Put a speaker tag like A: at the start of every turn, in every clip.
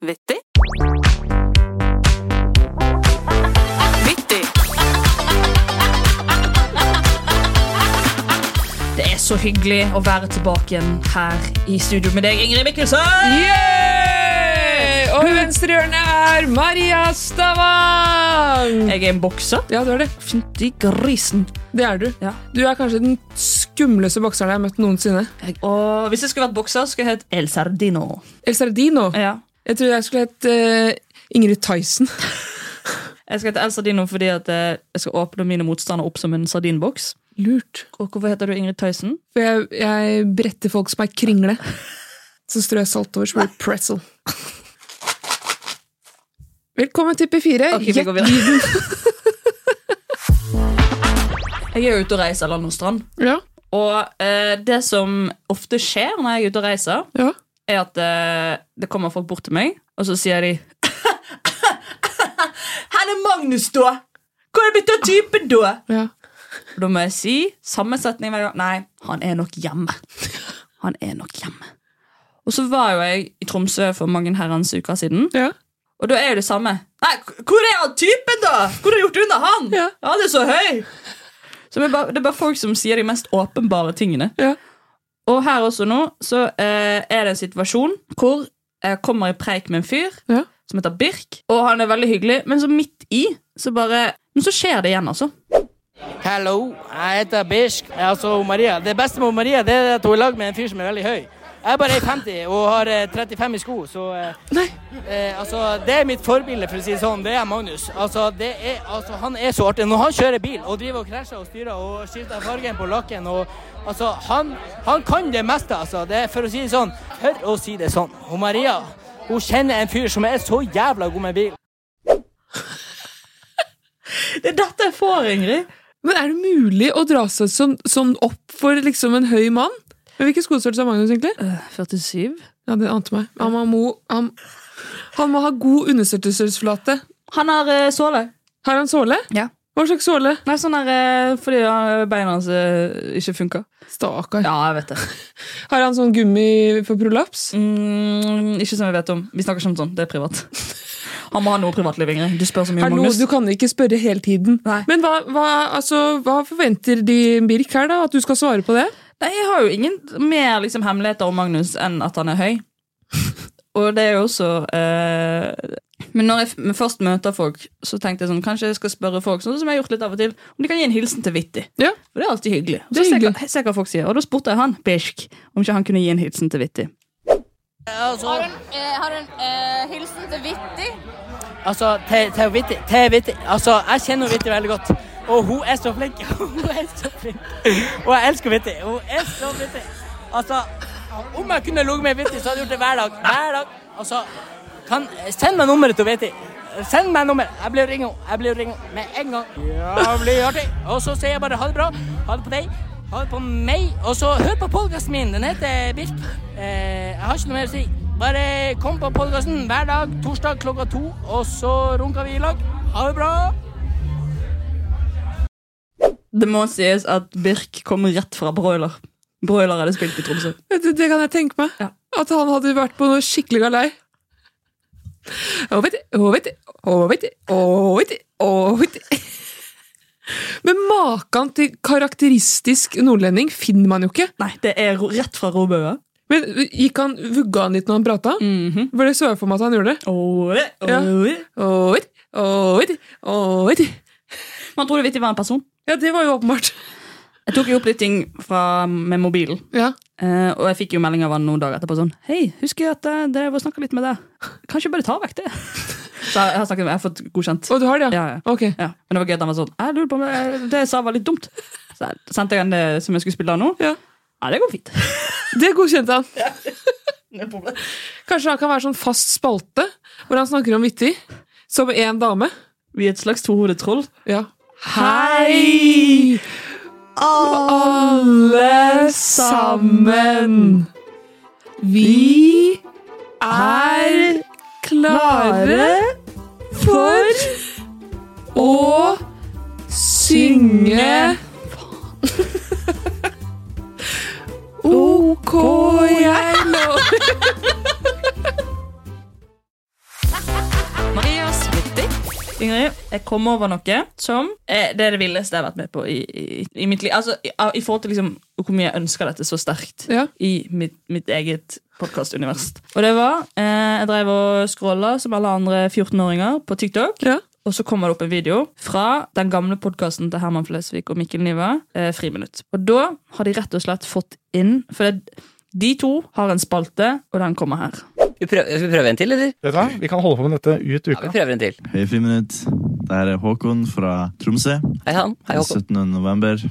A: Vittig. Vittig.
B: Det er så hyggelig å være tilbake igjen her i studio med deg, Ingrid Mikkelsen!
C: Yeah! Og i venstre hjørne er Maria Stavang!
B: Jeg er en bokser.
C: Ja, du er det.
B: Fytti grisen.
C: Det er du.
B: Ja.
C: Du er kanskje den skumleste bokseren jeg har møtt noensinne.
B: Jeg, og hvis jeg skulle vært bokser, skulle jeg hett El Sardino.
C: El Sardino.
B: Ja.
C: Jeg trodde jeg skulle hett eh, Ingrid Tyson.
B: Jeg skal hete El Sardino fordi at eh, jeg skal åpne mine motstandere opp som en sardinboks.
C: Lurt.
B: Og hvorfor heter du Ingrid Tyson?
C: For jeg, jeg bretter folk som er kringle. Så strør jeg salt over, så blir det pretzel. Velkommen til P4.
B: Ok, vi går videre. jeg er jo ute og reiser land og strand.
C: Ja,
B: Og eh, det som ofte skjer når jeg er ute og reiser,
C: ja.
B: er at eh, det kommer folk bort til meg, og så sier de Her er Magnus, da! Hvor er det blitt av typen, da?
C: ja.
B: Og Da må jeg si samme setning hver gang. Nei, han er nok hjemme. Han er nok hjemme. Og så var jo jeg i Tromsø for mange herrens uker siden,
C: ja.
B: og da er jo det samme. Nei, k- hvor er han typen, da?! Hvor har du gjort unna han?!
C: Ja.
B: Han er så høy! Så det er, bare, det er bare folk som sier de mest åpenbare tingene.
C: Ja.
B: Og her også nå så eh, er det en situasjon hvor jeg kommer i preik med en fyr
C: Ja.
B: som heter Birk, og han er veldig hyggelig, men så midt i så bare Men så skjer det igjen, altså.
D: Hallo, jeg heter Birsk. Altså Maria. Det beste med Maria det er at hun er lag med en fyr som er veldig høy. Jeg er bare 1,50 og har eh, 35 i sko, så eh,
C: Nei.
D: eh, altså, Det er mitt forbilde, for å si det sånn. Det er Magnus. Altså, det er, altså, Han er så artig. Når han kjører bil og driver og krasjer og styrer og skifter fargen på lakken og Altså, han, han kan det meste, altså. Det er, for å si det sånn. Hør å si det sånn. Og Maria, hun kjenner en fyr som er så jævla god med bil.
B: Det er dette jeg får, Ingrid.
C: Men er det mulig å dra seg sånn, sånn opp for liksom en høy mann? Men Hvilken skostørrelse har Magnus egentlig?
B: 47.
C: Ja, det ante meg. Han, må- må, han, han må ha god understøttelsesflate.
B: Han har eh, såle.
C: Har han såle?
B: Ja.
C: Hva slags såle?
B: Nei, sånn her eh, fordi han- beina hans eh, ikke funker.
C: Stakkar.
B: Ja, jeg vet det.
C: Har han sånn gummi for prolaps?
B: Mm, ikke som jeg vet om. Vi snakker ikke om sånt. Det er privat. Han må ha noe privatliv, Ingrid. Du spør så mye om
C: Hallo,
B: Magnus.
C: du kan ikke spørre hele tiden.
B: Nei.
C: Men hva, hva, altså, hva forventer de Birk her, da? At du skal svare på det?
B: Nei, jeg har jo ingen mer liksom, hemmeligheter om Magnus enn at han er høy. Og det er jo også eh, Men når jeg f- men først møter folk, så tenkte jeg sånn, kanskje jeg skal spørre folk sånn som jeg har gjort litt av og til, om de kan gi en hilsen til Vittig.
C: Ja.
B: For det er alltid hyggelig. Og
C: Det
B: så
C: er
B: ser jeg
C: hyggelig.
B: hva- ser jeg hva folk sier. Og da spurte jeg han, Bishk, om ikke han kunne gi en hilsen til Vittig.
D: Altså,
E: Har du en, eh, har du en eh, hilsen til Vitti?
D: Altså, til, til Vitti, til Vitti. Altså, jeg kjenner Vitti veldig godt. Og hun er så flink. Hun er så flink. Og jeg elsker Vitti. Hun er så Vitti. Altså, om jeg kunne ligget med Vitti, så hadde jeg gjort det hver dag. Hver dag. Altså, kan, send meg nummeret til Vitti. Send meg nummeret. Jeg blir å ringe henne. Jeg blir å ringe henne med en gang. Ja, det blir artig. Og så sier jeg bare ha det bra. Ha det på deg. Ha det på meg. Og så hør på podkasten min. Den heter Birk. Eh, jeg har ikke noe mer å si. Bare kom på podkasten hver dag torsdag klokka to, og så runker vi i lag. Ha det bra!
B: Det må sies at Birk kom rett fra broiler. Broiler hadde spilt i Tromsø.
C: Det, det kan jeg tenke meg.
B: Ja.
C: At han hadde vært på noe skikkelig galei. Å, vet du, å, vet du, å, vet du, å, vet du, å, vet du. Men maken til karakteristisk nordlending finner man jo ikke.
B: Nei, det er ro- rett fra robøa.
C: Men gikk han, Vugga han litt når han prata?
B: Mhm.
C: For det så jeg for meg at han gjorde. det.
B: Oi, oi.
C: Ja. Å, vet du, å, vet du, å, vet du.
B: Man trodde Vittig var en person.
C: Ja, det var jo åpenbart.
B: Jeg tok jo opp litt ting fra, med mobilen.
C: Ja.
B: Eh, og jeg fikk jo melding av han noen dager etterpå sånn Hei, husker jeg at jeg drev og snakka litt med deg? Kanskje bare ta vekk det? Så jeg, jeg har snakket med, jeg har fått godkjent.
C: Og du har det, ja?
B: Ja, ja.
C: Ok.
B: ja. Men det var gøy at han var sånn Jeg lurer på om det, det jeg sa, var litt dumt. Så jeg sendte jeg han det som jeg skulle spille av nå.
C: Ja.
B: Ja, det går fint.
C: Det godkjente han. Kanskje han kan være sånn fast spalte hvor han snakker om Vitti som én dame.
B: Vi er et slags tohodet troll.
C: Ja.
B: Hei,
C: alle sammen. Vi er klare for å synge OK, jeg lover.
B: Ingrid, jeg kom over noe som eh, Det er det villeste jeg har vært med på i, i, i mitt liv. Altså, i, av- i forhold til liksom, hvor mye jeg ønsker dette så sterkt
C: Ja.
B: i mitt, mitt eget podkastunivers. Og det var eh, Jeg drev og scrolla som alle andre 14-åringer på TikTok.
C: Ja.
B: Og så kommer det opp en video fra den gamle podkasten til Herman Flesvig og Mikkel Niva, eh, Friminutt. Og da har de rett og slett fått inn For det, de to har en spalte, og den kommer her.
A: Vi prøver, skal vi prøve en til, eller?
F: Vet du hva? Vi kan holde på med dette ut
A: Ja, vi
F: uka.
A: prøver en til.
G: Hei, Friminutt. Det her er Håkon fra Tromsø.
A: Hei, han. Hei, Håkon.
G: 17. november.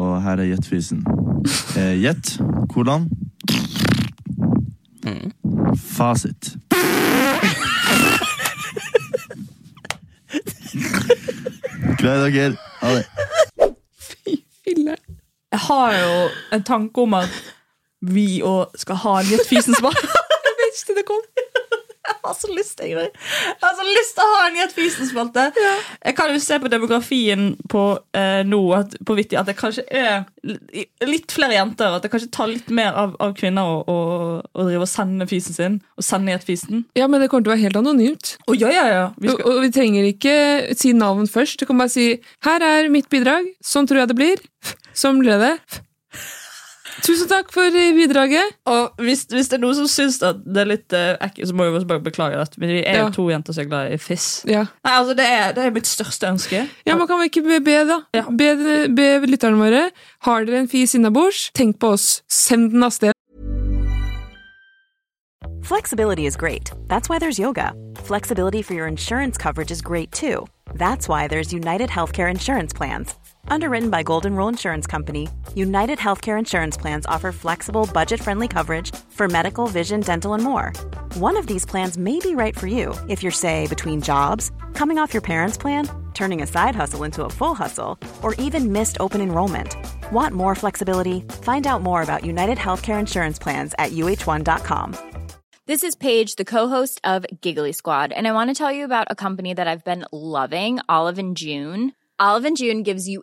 G: Og her er gjettfisen. Eh, Gjett hvordan Fasit. Gleder dere. Ha det.
C: Filler'n.
B: jeg har jo en tanke om at vi òg skal ha en gjettfisen svar. jeg vet ikke det kom. Jeg har så lyst, Ingrid. Jeg har så lyst til å ha en Gjettfisen-spalte. Jeg kan jo se på demografien på eh, nå at, på Vitti at det kanskje er li- litt flere jenter. At det kanskje tar litt mer av, av kvinner å, å, å drive og sende fisen sin. Og sende Gjettfisen.
C: Ja, men det kommer til å være helt anonymt.
B: Å, ja, ja, ja. Vi
C: Og,
B: skal,
C: og vi trenger ikke si navn først. Du kan bare si 'Her er mitt bidrag. Sånn tror jeg det blir. Sånn ble det'. Tusen takk for eh, bidraget.
B: og hvis, hvis det er noen som syns at det er litt eh, ekkelt, så må vi også bare beklage det. Men vi er jo
C: Ja.
B: to jenter som er glad i fiss.
C: Ja,
B: Nei, altså det er, det er mitt største ønske.
C: ja Man kan vel ikke be, be da?
B: Ja.
C: Be, be lytterne våre. Har dere en fis innabords, tenk på oss. Send den av sted.
H: Flexibility is great. That's why there's yoga. Flexibility for your insurance coverage is great too. That's why there's United Healthcare Insurance Plans. Underwritten by Golden Rule Insurance Company, United Healthcare Insurance Plans offer flexible, budget friendly coverage for medical, vision, dental, and more. One of these plans may be right for you if you're, say, between jobs, coming off your parents' plan, turning a side hustle into a full hustle, or even missed open enrollment. Want more flexibility? Find out more about United Healthcare Insurance Plans at uh1.com.
E: This is Paige, the co-host of Giggly Squad, and I want to tell you about a company that I've been loving, Olive and June. Olive and June gives you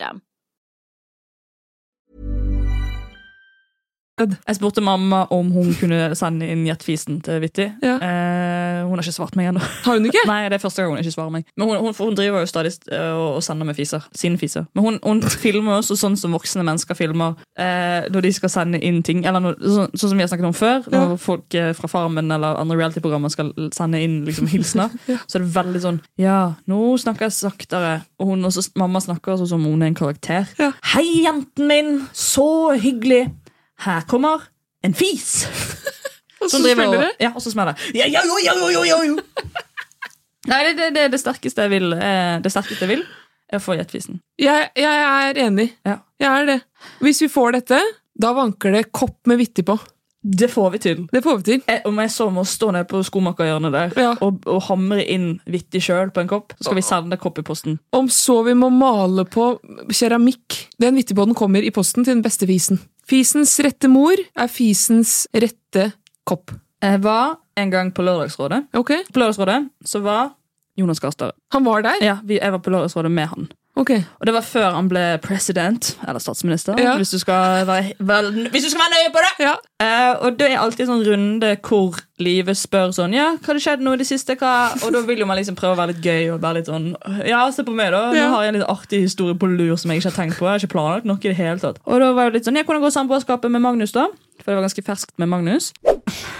B: Jeg spurte mamma om hun kunne sende inn gjettfisen til Vitti.
C: Ja.
B: Eh, hun har ikke svart meg ennå.
C: Har hun ikke?
B: Nei, det er første gang hun ikke svarer meg. Men hun, hun, for hun driver jo stadig eh, og og sender med fiser. Sine fiser. Men hun, hun filmer også sånn som voksne mennesker filmer eh, når de skal sende inn ting. Eller når, sånn, sånn som vi har snakket om før, når
C: Ja.
B: folk eh, fra Farmen eller andre reality-programmer skal l- sende inn liksom, hilsener. Så er det veldig sånn Ja, nå snakker jeg saktere. Og hun, også, mamma snakker sånn som om hun er en karakter.
C: Ja.
B: Hei, jenten min! Så hyggelig! Her kommer en fis!
C: Og så
B: Som driver
C: spiller det.
B: og, ja, og så smeller det. Ja, ja, jo, ja, jo, jo, jo, jo. Nei, det, det, det er det sterkeste jeg vil. eh, Det sterkeste jeg vil er å få gjettfisen.
C: Jeg, jeg er enig.
B: Ja.
C: Jeg er det. Hvis vi får dette, da vanker det kopp med vittig på.
B: Det får vi til.
C: Det får vi til.
B: Jeg, om jeg så må stå nede på skomakerhjørnet der
C: Ja.
B: og, og hamre inn vittig sjøl på en kopp, så skal vi sende kopp i posten.
C: Om så vi må male på keramikk. Den vittigbåten kommer i posten til den beste fisen. Fisens rette mor er fisens rette kopp.
B: Jeg var en gang på Lørdagsrådet.
C: Ok?
B: På Lørdagsrådet så var Jonas Gahr Støre.
C: Han var der?
B: Ja, vi- jeg var på Lørdagsrådet med han.
C: Ok.
B: Og det var før han ble president, eller statsminister,
C: Ja.
B: hvis, du skal være, vel, hvis du skal være nøye på det!
C: Ja.
B: Eh, og det er alltid en sånn runde hvor livet spør sånn Ja, hva har skjedd nå i det siste? Hva? Og da vil jo man liksom prøve å være litt gøy og være litt sånn Ja, se på meg, da. Nå
C: Ja.
B: har jeg en litt artig historie på lur som jeg ikke har tenkt på. Jeg har ikke planlagt noe i det hele tatt. Og da var jeg litt sånn Ja, hvordan går samboerskapet med Magnus, da? For det var ganske ferskt med Magnus.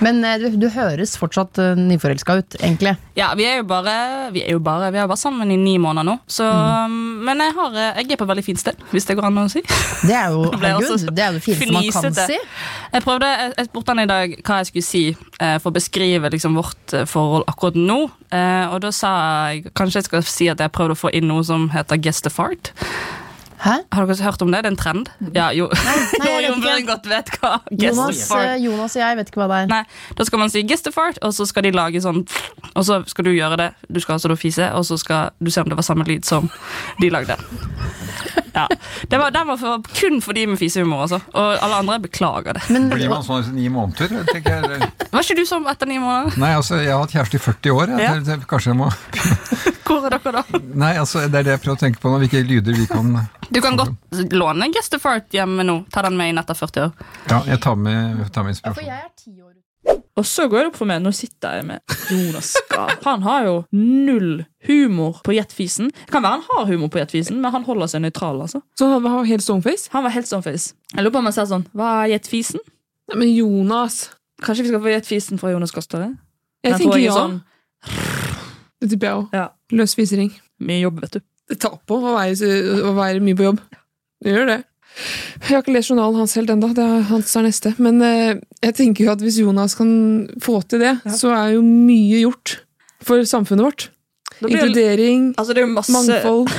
I: Men eh, du, du høres fortsatt uh, nyforelska ut, egentlig.
J: Ja, vi er jo bare Vi er jo bare, vi har vært sammen i ni måneder nå, så
B: Mm.
J: mm, Men jeg, har, eh, jeg er på et veldig fint sted, hvis det går an å si.
I: Det er jo,
J: ble
I: herregud,
J: også
I: det er jo det fineste man kan
J: fnisete.
I: si.
J: Jeg prøvde, jeg, jeg spurte han i dag hva jeg skulle si eh, for å beskrive liksom, vårt eh, forhold akkurat nå. Eh, og da sa jeg kanskje jeg skal si at jeg prøvde å få inn noe som heter 'guess the fart'. Har dere hørt om det? Det er en trend. Ja, jo.
I: Mm. Nei,
J: jo,
I: jeg vet
J: Jon
I: ikke.
J: Børen godt vet hva
I: Jonas, eh,
J: gestefart
I: Jonas og jeg vet ikke hva det er.
J: Nei, Da skal man si 'gestefart', og så skal de lage sånn Og så skal du gjøre det. Du skal altså da fise, og så skal du se om det var samme lyd som de lagde. Ja. Det var, den var for, kun for de med fisehumor, altså. Og alle andre beklager det.
K: Blir man sånn etter ni måneder? tenker jeg. eller?
J: Var ikke du som etter ni måneder?
K: Nei, altså, Jeg har hatt kjæreste i 40 år. Jeg.
J: Ja.
K: Det- det- Kanskje jeg må
J: Hvor er dere da?
K: Nei, altså, Det er det jeg prøver å tenke på nå. Hvilke lyder vi kan
J: Du kan godt låne gestefart hjemme nå. Ta den med inn etter 40 år.
K: Ja, jeg tar med, jeg tar med inspirasjon.
B: Og så går det opp for meg, nå sitter jeg med Jonas Gahr. Han har jo null humor på gjettfisen. Det kan være han har humor på gjettfisen, men han holder seg nøytral, altså.
C: Så han var helt stoneface?
B: Han var helt stoneface. Jeg lurer på om han sa sånn, hva er gjettfisen?
C: Nei, men Jonas.
B: Kanskje vi skal få gjettfisen fra Jonas Gahr Støre?
C: Jeg
B: Den tror
C: tenker
B: jeg er
C: ja.
B: sånn-
C: Det tipper jeg òg.
B: Ja.
C: Løs fisering.
B: Mye jobb, vet du.
C: Det tar på å være, å være mye på jobb. Det gjør det. Jeg har ikke lest journalen hans helt ennå. Det er hans er neste. Men eh, jeg tenker jo at hvis Jonas kan få til det, så er jo mye gjort for samfunnet vårt.
B: Da blir det-
C: Inkludering,
B: Altså, det er jo masse,
C: mangfold.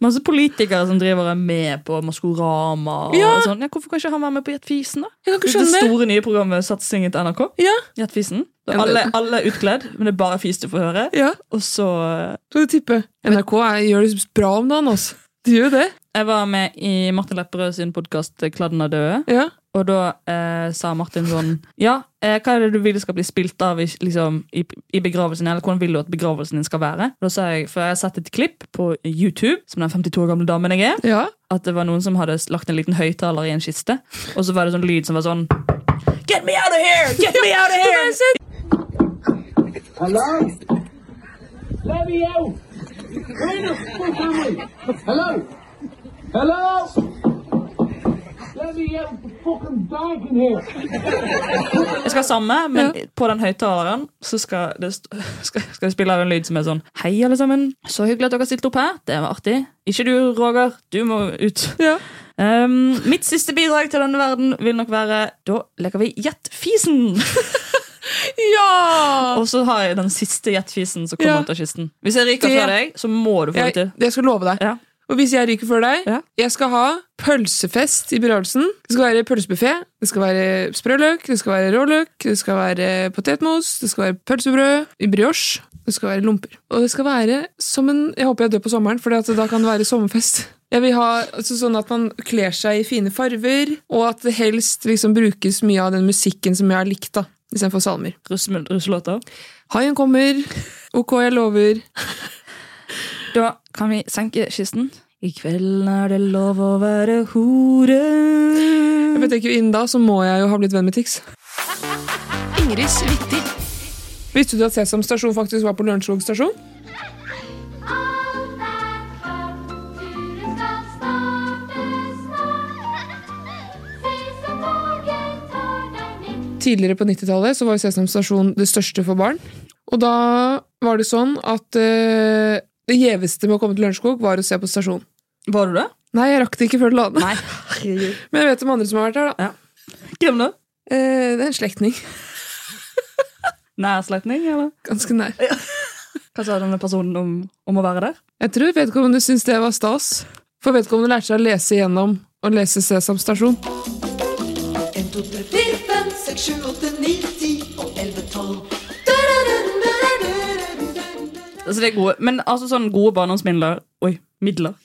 B: masse politikere som driver og er med på Maskorama og
C: Ja.
B: sånn. Ja, hvorfor kan ikke han være med på Gjettfisen, da?
C: Jeg kan ikke
B: det
C: skjønne det.
B: store nye programmet Satsingen til NRK.
C: Ja.
B: Gjettfisen. Da er Alle, alle er utkledd, men det er bare fis du får høre.
C: Ja.
B: Og så
C: Skal du tippe? NRK er, gjør det bra om dagen, altså. De gjør jo det.
B: Jeg var med i Martin Lepperød sin podkast 'Kladden av døde'.
C: Ja.
B: Og da eh, sa Martin sånn Ja, eh, hva er det du vil skal bli spilt av i, liksom, i, i begravelsen? Eller hvordan vil du at begravelsen din skal være? Da sa jeg, For jeg har sett et klipp på YouTube, som den 52 år gamle damen jeg er,
C: Ja.
B: at det var noen som hadde lagt en liten høyttaler i en kiste, og så var det sånn lyd som var sånn Get me out of here! Get me out of here!
L: Hello? Let me out! Where the fuck am I? Hello? Hello? Let me out! It's fucking dark in here!
B: Jeg skal ha samme, men på den høyttaleren så skal det, st- skal, skal det spille av en lyd som er sånn Hei, alle sammen. Så hyggelig at dere stilte opp her. Det var artig. Ikke du, Roger. Du må ut. Um, mitt siste bidrag til denne verden vil nok være Da leker vi Gjett fisen!
C: ja!
B: Og så har jeg den siste gjettfisen som kommer
C: Ja.
B: ut av kisten. Hvis jeg ryker
C: Det-
B: fra deg, så må du få det
C: Jeg,
B: til.
C: jeg skal love deg. Og hvis jeg ryker før deg, jeg skal ha pølsefest i begravelsen. Det skal være pølsebuffé, det skal være sprø løk, det skal være råløk, det skal være potetmos, det skal være pølsebrød i brioche, det skal være lomper. Og det skal være som en Jeg håper jeg dør på sommeren, for da kan det være sommerfest. Jeg vil ha altså, sånn at man kler seg i fine farver, og at det helst liksom brukes mye av den musikken som jeg har likt, da, istedenfor salmer.
B: Russelåter?
C: Haien kommer. Ok, jeg lover.
B: Da kan vi senke kisten. I kveld er det lov å være hore.
C: Jeg vet ikke, Innen da så må jeg jo ha blitt venn med Tix. Ingrid Svitti. Visste du at Sesam stasjon faktisk var på Lørenskog stasjon? Tidligere på 90-tallet så var jo Sesam stasjon det største for barn. Og da var det sånn at eh, det gjeveste med å komme til Lørenskog var å se på stasjon.
B: Var du det?
C: Nei, jeg rakk det ikke før det landet.
B: Herregud.
C: Men jeg vet om andre som har vært der, da.
B: Hvem da?
C: Eh, det er en slektning.
B: Nærslektning, eller?
C: Ganske nær.
B: Hva sa denne personen om, om å være der?
C: Jeg tror vedkommende syntes det var stas. For vedkommende lærte seg å lese igjennom og lese Sesam stasjon.
M: 1, 2, 3, 4, 5, 6, 7, 8, 9, 10 og 11, 12. Da-da-da-da-da-da-da.
B: Altså, det er gode, men altså sånn gode barndomsmidler Oi, midler.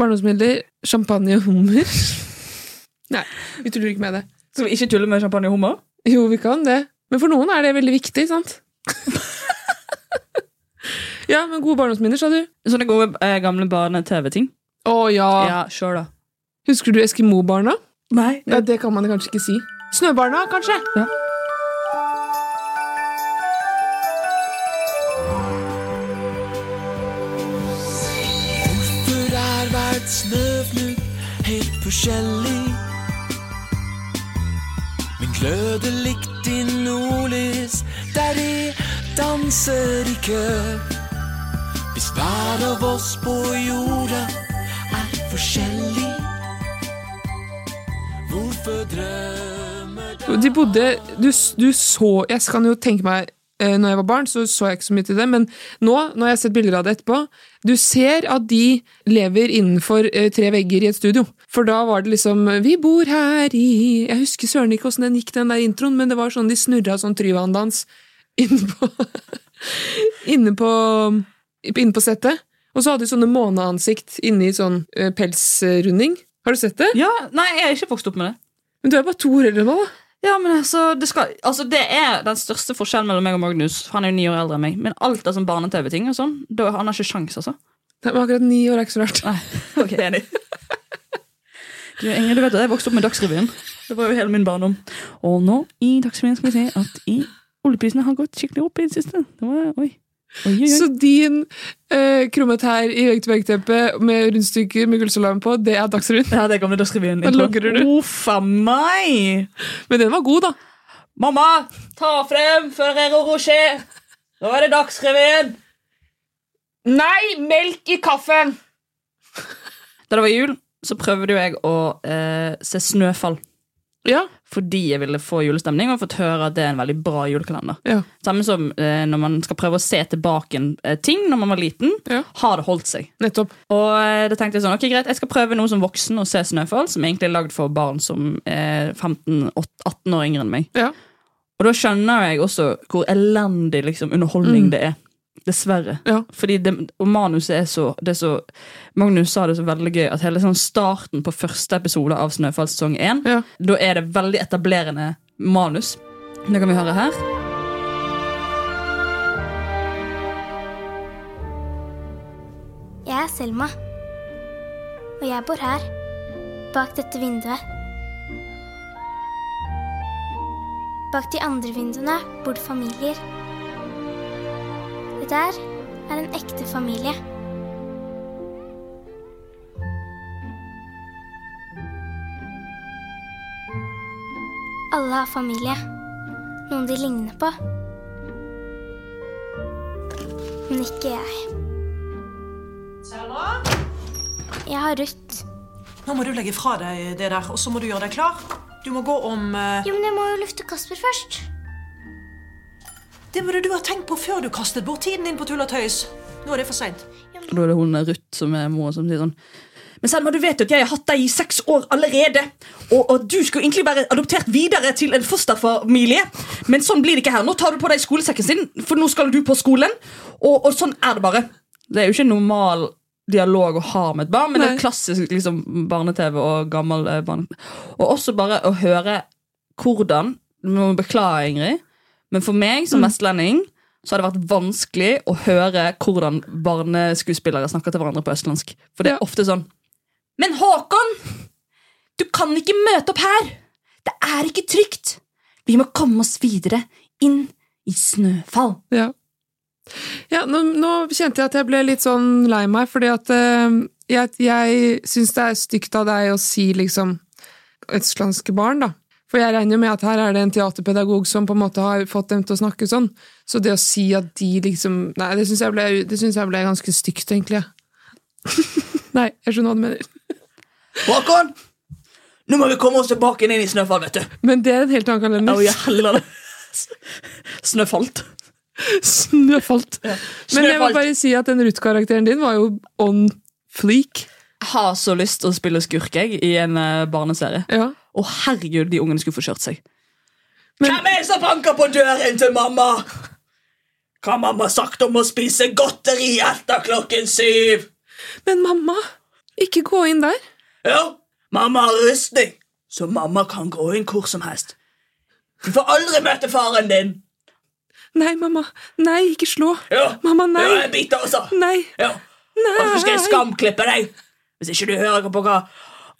C: Barndomsmidler, champagne og hummer. Nei, vi tuller ikke med det.
B: Skal vi ikke tulle med champagne og hummer?
C: Jo, vi kan det. Men for noen er det veldig viktig, sant? ja, men gode barndomsminner, sa du.
B: Sånne gode eh, gamle barne-TV-ting.
C: Å ja.
B: Ja, sure, da.
C: Husker du Eskimo-barna?
B: Nei.
C: Ja, det kan man kanskje ikke si. Snøbarna, kanskje?
B: Ja.
L: Hvorfor er hvert snøfnugg helt forskjellig? Men gløder likt i nordlys der de danser i kø. Hvis hver av oss på jorda er forskjellig, hvorfor drømmer
C: De bodde du, du så Jeg kan jo tenke meg eh, når jeg var barn, så så jeg ikke så mye til det, men nå, når jeg har sett bilder av det etterpå, du ser at de lever innenfor eh, tre vegger i et studio. For da var det liksom Vi bor her i Jeg husker søren ikke åssen den gikk, den der introen, men det var sånn de snurra sånn Tryvann-dans inne på Inne på, inne på settet. Og så hadde de sånne måneansikt inni sånn eh, pelsrunding. Har du sett det?
B: Ja, Nei, jeg er ikke vokst opp med det.
C: Men du er bare to år eldre nå, da.
B: Ja, men altså det, skal, altså det er den største forskjellen mellom meg og Magnus. Han er jo ni år eldre enn meg. Men alt er sånn barne-TV-ting og sånn. Da, han har ikke sjans, altså.
C: Nei, men akkurat ni år er ikke så rart.
B: Nei, ok, enig. Du, Inger, du vet at jeg vokste opp med Dagsrevyen. Det var jo hele min barndom. Og nå i Dagsrevyen skal vi se at i oljeprisene har gått skikkelig opp i det siste. Det var, oi. Oi, oi, oi.
C: Så din eh, krummet her i vegg-til-vegg-teppet med rundstykker med gullsalam på, det er Dagsrevyen?
B: Ja, det gamle Dagsrevyen.
C: Den logrer du.
B: Uff a meg!
C: Men den var god, da.
B: Mamma, ta frem Ferrero Rocher! Nå er det Dagsrevyen! Nei, melk i kaffen! Da det var jul, så prøvde jo jeg å eh, se Snøfall. Fordi jeg ville få julestemning og fått høre at det er en veldig bra julekalender. Samme som eh, når man skal prøve å se tilbake en eh, ting når man var liten. Har det holdt seg? Og eh, da tenkte jeg sånn, ok greit, jeg skal prøve noe som voksen og se Snøfall, som egentlig er lagd for barn som eh, er 15-18 år yngre enn meg. Og da skjønner jeg også hvor elendig liksom, underholdning
J: Mm.
B: det er. Dessverre. Fordi det, og manuset er så, det er så Magnus sa det så veldig gøy at hele sånn starten på første episode av Snøfall sesong 1, da er det veldig etablerende manus. Det kan vi høre her.
N: Jeg er Selma. Og jeg bor her, bak dette vinduet. Bak de andre vinduene bor det familier. Det der er en ekte familie. Alle har familie. Noen de ligner på. Men ikke jeg. Jeg har Ruth.
O: Nå må du legge fra deg det der, og så må du gjøre deg klar. Du må gå om eh,
N: Jo, men jeg må jo lufte Kasper først.
O: Det burde du ha tenkt på før du kastet bort tiden din på tull og tøys. Nå er det for seint.
B: Og da er det hun eh, Ruth som er mor som sier sånn Men Selma, du vet jo at jeg har hatt deg i seks år allerede. Og, og du skulle egentlig være adoptert videre til en fosterfamilie. Men sånn blir det ikke her. Nå tar du på deg skolesekken sin, for nå skal du på skolen. Og, og sånn er det bare. Det er jo ikke en normal dialog å ha med et barn, men det
J: Nei.
B: er klassisk liksom, barne-TV og gammel eh, barne... Og også bare å høre hvordan Nå beklager jeg, Ingrid, men for meg som vestlending så har det vært vanskelig å høre hvordan barneskuespillere snakker til hverandre på østlandsk. For det er ofte sånn Men Håkon! Du kan ikke møte opp her! Det er ikke trygt! Vi må komme oss videre inn i snøfall.
C: Ja. Ja, nå, nå kjente jeg at jeg ble litt sånn lei meg, fordi at eh, jeg, jeg syns det er stygt av deg å si liksom østlandske barn, da. For jeg regner jo med at her er det en teaterpedagog som på en måte har fått dem til å snakke sånn. Så det å si at de liksom Nei, det syns jeg, ble- det synes jeg ble ganske stygt, egentlig. nei, jeg skjønner hva du mener.
B: Håkon! Nå må vi komme oss tilbake inn i snøfall, vet du.
C: Men det er en helt annen kalender.
B: Å, jeg heller det. Snøfalt.
C: Snøfalt. Men jeg må
B: Snøfalt.
C: bare si at den Ruth-karakteren din var jo on fleak.
B: Jeg har så lyst til å spille skurk jeg, i en eh, barneserie. Og herregud, de ungene skulle få kjørt seg. Hvem er det som banker på døren til mamma? Hva har mamma sagt om å spise godteri etter klokken syv?
C: Men mamma, ikke gå inn der.
B: Ja, mamma har rustning, så mamma kan gå inn hvor som helst. Du får aldri møte faren din.
C: Nei, mamma. Nei, ikke slå.
B: Ja,
C: Mamma, nei.
B: Ja, jeg biter også.
C: Nei.
B: Ja. Og så skal jeg skamklippe deg hvis ikke du hører på hva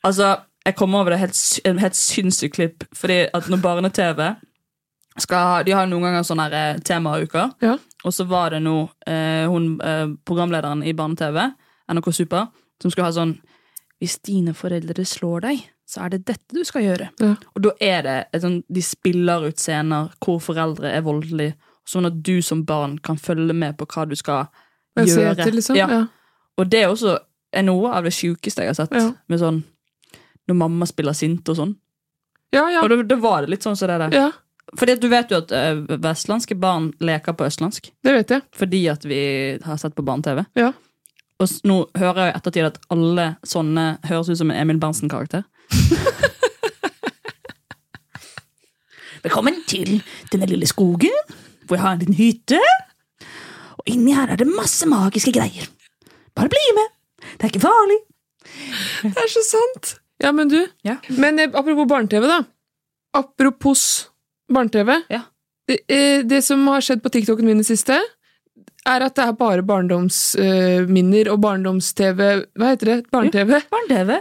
B: Altså, jeg kommer over det helt, sy- en helt sinnssykt klipp, fordi at når barne-TV skal ha De har noen ganger sånne her, eh, temauker, og så var det nå eh, hun eh, programlederen i barne-TV, NRK Super, som skulle ha sånn Hvis dine foreldre slår deg, så er det dette du skal gjøre. Og da er det et sånn, De spiller ut scener hvor foreldre er voldelige, sånn at du som barn kan følge med på hva du skal
C: Jeg ser
B: gjøre.
C: etter, liksom, ja.
B: Og det er også er noe av det sjukeste jeg har sett,
C: Ja.
B: med sånn når mamma spiller sint og sånn.
C: Ja, ja.
B: Og da, da var det litt sånn som det der.
C: Ja.
B: Fordi at du vet jo at eh, vestlandske barn leker på østlandsk.
C: Det vet jeg.
B: Fordi at vi har sett på barne-TV.
C: Ja.
B: Og s- nå hører jeg i ettertid at alle sånne høres ut som en Emil Berntsen-karakter. Velkommen til denne lille skogen, hvor jeg har en liten hytte. Og inni her er det masse magiske greier. Bare bli med! Det er ikke farlig.
C: Det er så sant! Ja, men du. Men eh, apropos barne-TV, da. Apropos barne-TV. Det, eh, det som har skjedd på TikToken min i det siste, er at det er bare barndomsminner og barndoms-TV Hva heter det? Barne-TV?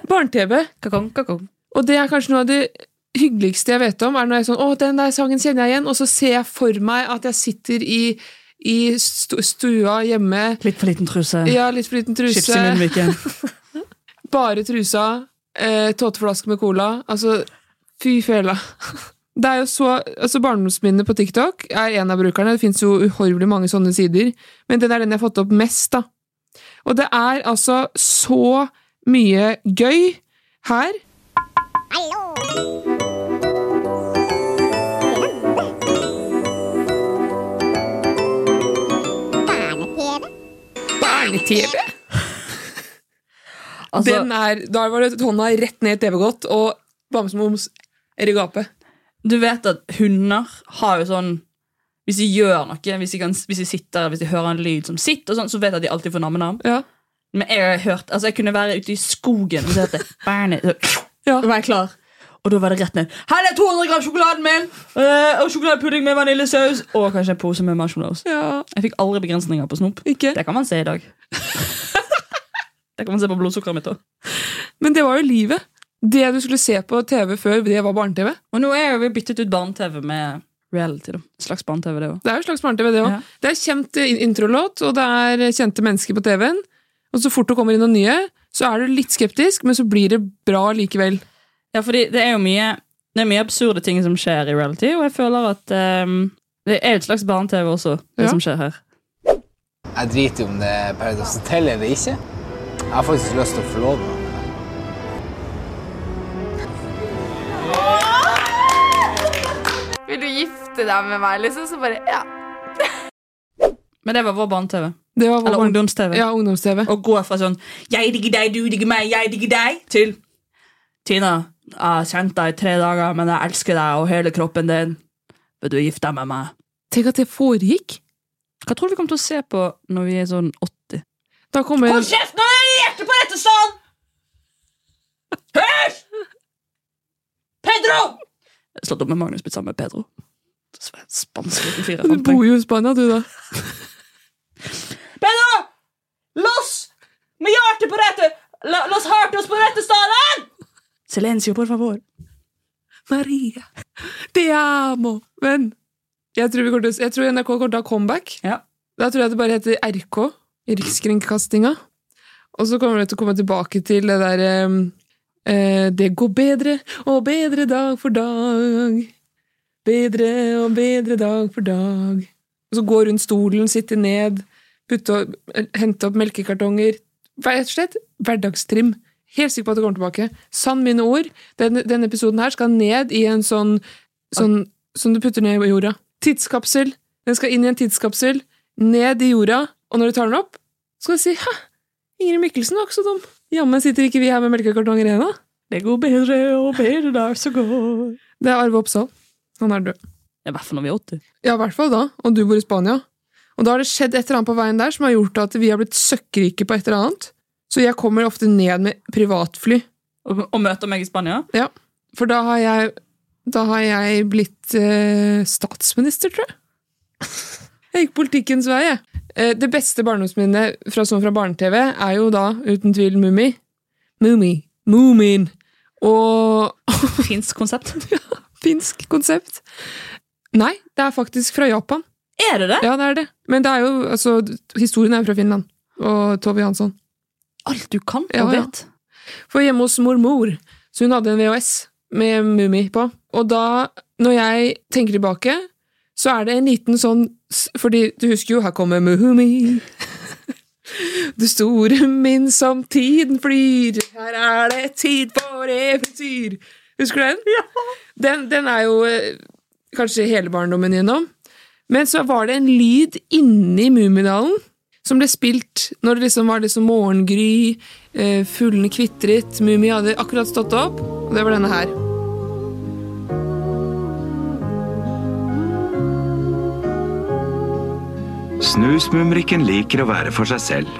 B: Barne-TV. Kakong, kakong.
C: Og det er kanskje noe av det hyggeligste jeg vet om, er når jeg er sånn Å, den der sangen kjenner jeg igjen. Og så ser jeg for meg at jeg sitter i, i stu- stua hjemme
B: Litt for liten truse.
C: Ja, litt for liten truse.
B: Chips i munnviken.
C: Bare trusa, eh, tåteflaske med cola. Altså, fy fela. Det er jo så, altså Barndomsminner på TikTok er en av brukerne. Det fins jo uhorvelig mange sånne sider. Men den er den jeg har fått opp mest, da. Og det er altså så mye gøy her. Barne-TV?
B: Altså,
C: Den er, da var det hånda rett ned i TV-godt, og Bamsemums er i gapet.
B: Du vet at hunder har jo sånn Hvis de gjør noe, hvis de, kan, hvis de sitter, hvis de hører en lyd som sitt, og sånn, så vet jeg at de alltid får navn.
C: Ja.
B: Men jeg har hørt, altså jeg kunne være ute i skogen og så hørte jeg barnet, så, og være klar. Og da var det rett ned. Her er 200 gram sjokoladen min! eh, Og sjokoladepudding med vaniljesaus! Og kanskje en pose med marshmallows. Jeg fikk aldri begrensninger på snop. Det kan man se i dag. det kan man se på blodsukkeret mitt òg.
C: Men det var jo livet. Det du skulle se på TV før, det var barne-TV.
B: Og nå er jo vi byttet ut barne-TV med reality. da. Slags barne-TV, det òg.
C: Det er jo en slags barne-TV, det òg.
B: Ja.
C: Det er kjent eh, introlåt, og det er kjente mennesker på TV-en. Og så fort det kommer inn noen nye, så er du litt skeptisk, men så blir det bra likevel.
B: Ja, fordi det er jo mye Det er mye absurde ting som skjer i reality, og jeg føler at ehm, det er et slags barne-TV også, det
P: Ja.
B: som skjer her.
P: Jeg driter i om det er Paradise Hotel eller ikke. Jeg har faktisk lyst til å forlove meg.
Q: Vil du gifte deg med meg, liksom? Så bare, ja.
B: Men det var vår barne-TV.
C: Det var vår
B: Eller
C: barne-
B: ungdoms-TV.
C: Ja, ungdoms-TV.
B: Og gå fra sånn 'jeg digger deg, du digger meg, jeg digger deg' til 'Tina, jeg har kjent deg i tre dager, men jeg elsker deg og hele kroppen din. Vil du gifte deg med meg?'
C: Tenk at det foregikk.
B: Hva tror du vi kommer til å se på når vi er sånn 80?
C: Da kommer
B: Hold kjeft nå! Jeg reagerte på dette sånn! Hysj! Pedro! Slått opp med Magnus, blitt sammen med Pedro. Spansk liten fyr.
C: Du bor jo i Spania, du, da.
B: Pedro! Loss! Med hjertet på rette! La, loss hjertet på rette stedet! Silencio, por favor.
C: Maria. Te amo. Men jeg tror, vi kommer til, å- jeg tror NRK kommer til å ha comeback. Da tror jeg det bare heter RK. Rikskringkastinga. Og så kommer det til å komme tilbake til det der eh, eh, Det går bedre og bedre dag for dag. Bedre og bedre dag for dag. Og så gå rundt stolen, sitte ned, putte og, hente opp melkekartonger. Rett og slett hverdagstrim. Helt sikker på at det kommer tilbake. Sann mine ord. Denne, denne episoden her skal ned i en sånn, sånn som du putter ned i jorda. Tidskapsel. Den skal inn i en tidskapsel, ned i jorda, og når du tar den opp, skal du si hæ, Ingrid Mikkelsen var ikke så dum. Jammen sitter ikke vi her med melkekartonger igjen, da.
B: Det går bedre og bedre der som går.
C: Det er Arve Oppsal. Han er død.
B: I hvert fall når vi er 80.
C: Ja, i hvert fall da. Og du bor i Spania. Og da har det skjedd et eller annet på veien der som har gjort at vi har blitt søkkrike på et eller annet. Så jeg kommer ofte ned med privatfly.
B: Og, og møter meg i Spania?
C: Ja, for da har jeg, da har jeg blitt eh, statsminister, tror jeg. Jeg gikk politikkens vei, jeg. Eh, det beste barndomsminnet fra, sånn fra barne-TV er jo da uten tvil Mummi. Mummi. Mumin. Og
B: Finsk konsept.
C: ja, finsk konsept. Nei, det er faktisk fra Japan.
B: Er det det?
C: Ja, det er det. Men det er jo, altså, historien er jo fra Finland. Og Tove Jansson.
B: Alt du kan og vet.
C: For hjemme hos mormor, så hun hadde en VHS med Mummi på. Og da, når jeg tenker tilbake, så er det en liten sånn s- Fordi du husker jo, her kommer Mummi. Det store min som tiden flyr, her er det tid for eventyr. Husker du den? Ja. Den, den er jo eh, kanskje hele barndommen gjennom. Men så var det en lyd inni Mummidalen som ble spilt når det liksom var liksom morgengry, eh, fuglene kvitret, Mummi hadde akkurat stått opp, og det var denne her.
R: Snusmumrikken liker å være for seg selv.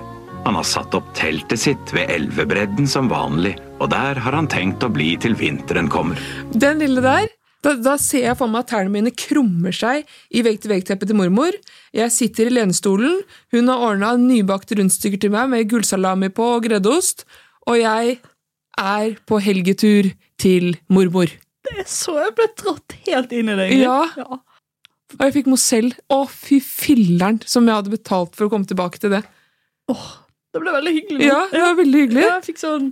R: Han har satt opp teltet sitt ved elvebredden som vanlig, og der har han tenkt å bli til vinteren kommer.
C: Den lille der, da, da ser jeg for meg at tærne mine krummer seg i vegg-til-vegg-teppet til mormor. Jeg sitter i lenestolen, hun har ordna nybakte rundstykker til meg med gullsalami på og greddeost, og jeg er på helgetur til mormor.
B: Det er så jeg ble dratt helt inn i det. egentlig.
C: Ja. Og jeg fikk Mozell. Å, fy filleren som jeg hadde betalt for å komme tilbake til det.
B: Det ble veldig hyggelig.
C: Ja, det var veldig hyggelig.
B: Ja, jeg fikk sånn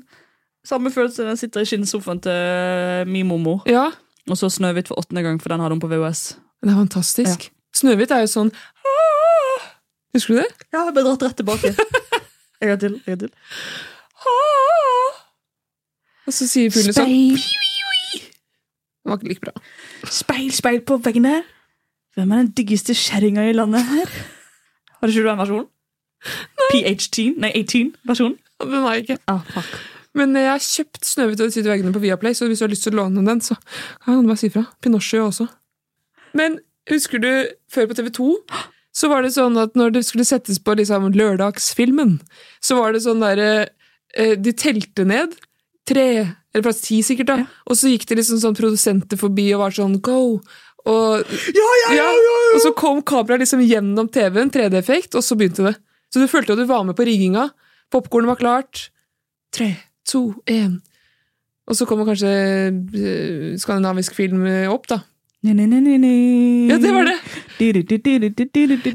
B: samme følelse når jeg sitter i skinnsofaen til min mormor. Og så Snøhvit for åttende gang, for den hadde hun på VHS.
C: Det er fantastisk. Snøhvit er jo sånn «Ah!» Husker du det?
B: Ja, jeg ble dratt rett tilbake. en gang til. En gang til.
C: Og så sier fuglene sånn
B: Speil.
C: Det var ikke like bra.
B: Speil, speil på veggene. Hvem er den diggeste kjerringa i landet her? Har ikke du den versjonen? PH10? Nei, 18-versjonen?
C: Den har jeg ikke. Men jeg har kjøpt Snøhvit og de syv veggene på Viaplay, så hvis du har lyst til å låne den, så kan du bare si fra. Pinocchio også. Men husker du, før på TV 2, så var det sånn at når det skulle settes på liksom, lørdagsfilmen, så var det sånn derre De telte ned. Tre, eller plass ti sikkert, da. Og så gikk det liksom sånn produsenter forbi og var sånn go! Og,
B: ja, ja, ja,
C: og så kom kameraet liksom gjennom TV-en, 3D-effekt, og så begynte det. Så du følte at du var med på rigginga. Popkornet var klart. Tre, to, én. Og så kommer kanskje eh, skandinavisk film eh, opp, da.
B: Ja,
C: det var det.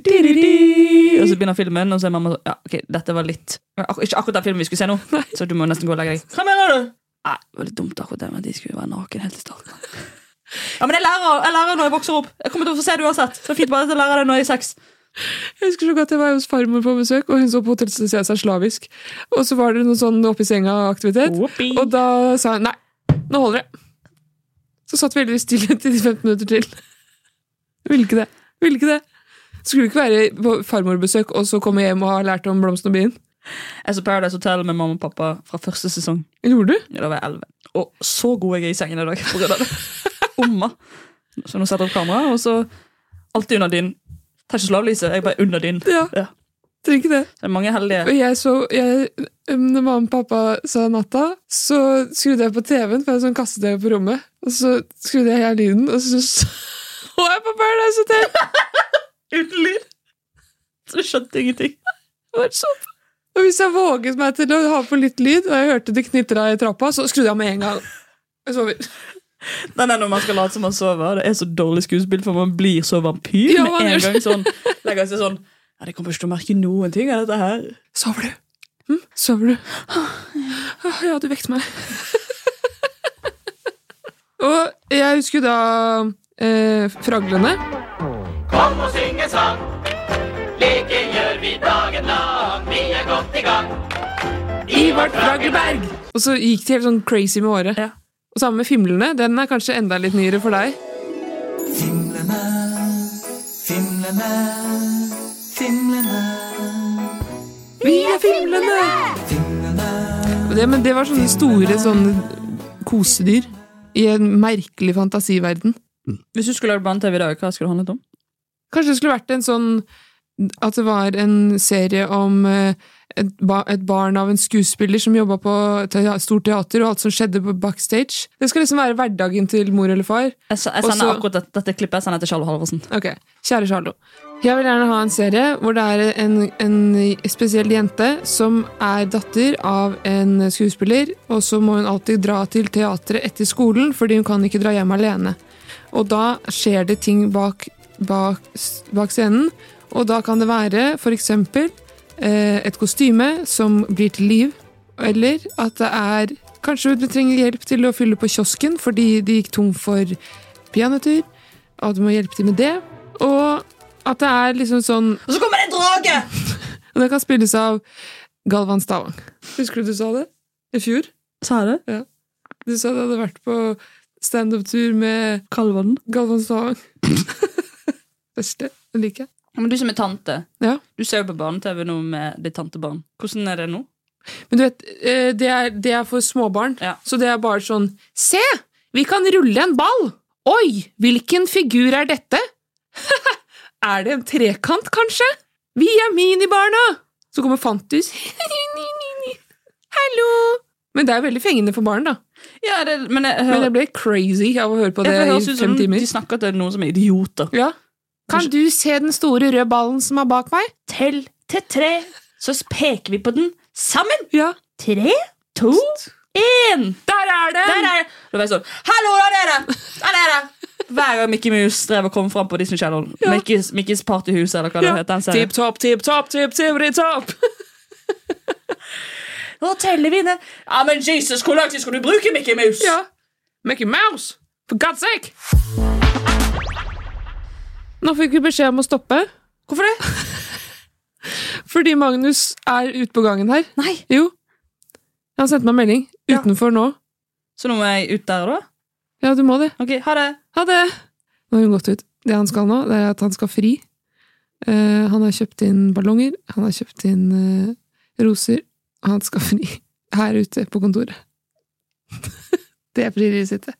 B: Og så begynner filmen, og så er mamma sånn Ja, ok, dette var litt ak Ikke akkurat den filmen vi skulle se nå, så du må nesten gå og legge deg. Hva mener du? Nei, det var litt dumt akkurat det med at de skulle være naken helt i starten. Ja, men jeg lærer, jeg lærer når jeg vokser opp. Jeg kommer til å få se det uansett. Så fint bare at jeg lærer det når jeg er seks.
C: Jeg husker så godt jeg var hos farmor på besøk, og hun så på Hotell Cæsar slavisk. Og så var det noe sånn oppe i senga-aktivitet, og da sa hun nei, nå holder det. Så satt vi heldigvis stille til de 15 minutter til. Jeg Ville ikke det. Jeg Ville ikke det. Skulle ikke være på farmorbesøk og så komme hjem og ha lært om blomsten og bien.
B: Jeg så Paradise Hotel med mamma og pappa fra første sesong.
C: Gjorde du?
B: Ja, Da var jeg 11. Og så god jeg er i sengen i dag på grunn av det. Omma. Så nå setter jeg opp kamera, og så alltid under dynen. Tar ikke slavlyset, jeg er bare under dynen.
C: Ja. Trenger ikke det.
B: Det er mange heldige.
C: Og jeg så jeg, um, Når mamma og pappa sa natta, så skrudde jeg på TV-en, for jeg hadde sånn kasse-TV på rommet. Og så skrudde jeg her lyden, og så så jeg på Paradise Hotel!
B: Uten lyd! Så jeg skjønte ingenting.
C: Det var så Og hvis jeg våget meg til å ha på litt lyd, og jeg hørte det knitra i trappa, så skrudde jeg med en gang. Jeg sover.
B: Den er når man skal late som man sover. Det er så dårlig skuespill, for man blir så vampyr
C: Ja, man
B: med en
C: gjør
B: gang. sånn, Legger seg sånn ja, Det kommer ikke til å merke noen ting av dette her.
C: Sover du? Hm? Sover du? Åh, Ja, du vekket meg. og jeg husker jo da eh, Fraglene.
L: Kom og syng en sang. Leker gjør vi dagen lang. Vi er godt i gang. I vårt Fragleberg.
C: Og så gikk de helt sånn crazy med håret. Og sammen med Fimlene. Den er kanskje enda litt nyere for deg.
L: Fimlene, fimlene, fimlene.
C: Vi er Fimlene! Og Det, men det var sånne store sånne kosedyr i en merkelig fantasiverden.
B: Hvis du skulle lagd barne-TV i dag, hva skulle det handlet om?
C: Kanskje det skulle vært en sånn At det var en serie om eh, et, ba et barn av en skuespiller som jobba på et te- stort teater, og alt som skjedde på backstage. Det skal liksom være hverdagen til mor eller far.
B: Jeg, se- jeg
C: Og
B: sender
C: så-
B: akkurat dette, dette klippet jeg sender til Charlo Halvorsen.
C: Ok, Kjære Charlo. Jeg vil gjerne ha en serie hvor det er en, en spesiell jente som er datter av en skuespiller, og så må hun alltid dra til teatret etter skolen fordi hun kan ikke dra hjem alene. Og da skjer det ting bak, bak, bak scenen, og da kan det være f.eks. et kostyme som blir til liv, eller at det er Kanskje du trenger hjelp til å fylle på kiosken fordi de gikk tom for peanøtter og du må hjelpe til med det. Og at det er liksom sånn
B: Og så kommer det en drage!
C: Og det kan spilles av Galvan Stavang. Husker du du sa det? I fjor?
B: Sa jeg det?
C: Ja. Du sa det hadde vært på standup-tur med Galvan. Galvan Stavang. Beste. Den liker jeg.
B: Men du som er tante,
C: Ja.
B: du ser jo på barne-TV nå med ditt tantebarn. Hvordan er det nå?
C: Men du vet, eh, det er, det er for småbarn. Så det er bare sånn Se! Vi kan rulle en ball! Oi! Hvilken figur er dette? er det en trekant, kanskje? Vi er minibarna! Så kommer Fantus. Hallo! Men det er veldig fengende for barn, da.
B: Ja, det, men, jeg,
C: Men jeg ble crazy av å høre på det
B: Ja, for
C: i
B: høres ut som
C: fem timer.
B: De snakker til noen som er idioter.
C: Ja. Kan du se den store røde ballen som er bak meg?
B: Tell til tre, så peker vi på den sammen. Tre, to, én!
C: Der er den!
B: Der er den! Da var jeg sånn Hallo, der er det! Der er det! Hver gang Mickey Mouse drev og kom fram på Disney Channel. Mickey's, Mickey's Partyhus, eller hva det
C: Ja.
B: heter. den serien.
C: Tipp topp, tipp topp, tipp tipp tipp topp!
B: Nå teller vi ned. Ja, men Jesus, hvor lang tid skal du bruke, Mickey Mouse?
C: Ja. Mickey Mouse! For God's sake! Nå fikk vi beskjed om å stoppe. Hvorfor det? Fordi Magnus er ute på gangen her.
B: Nei.
C: Jo. Han sendte meg en melding. Utenfor nå.
B: Så nå må jeg ut der, da?
C: Ja, du må det.
B: Ok, Ha det.
C: Ha det! Nå har hun gått ut. Det han skal nå, det er at han skal fri. Eh, han har kjøpt inn ballonger, han har kjøpt inn eh, roser, og han skal fri her ute på kontoret. det er frieriet sitt, det.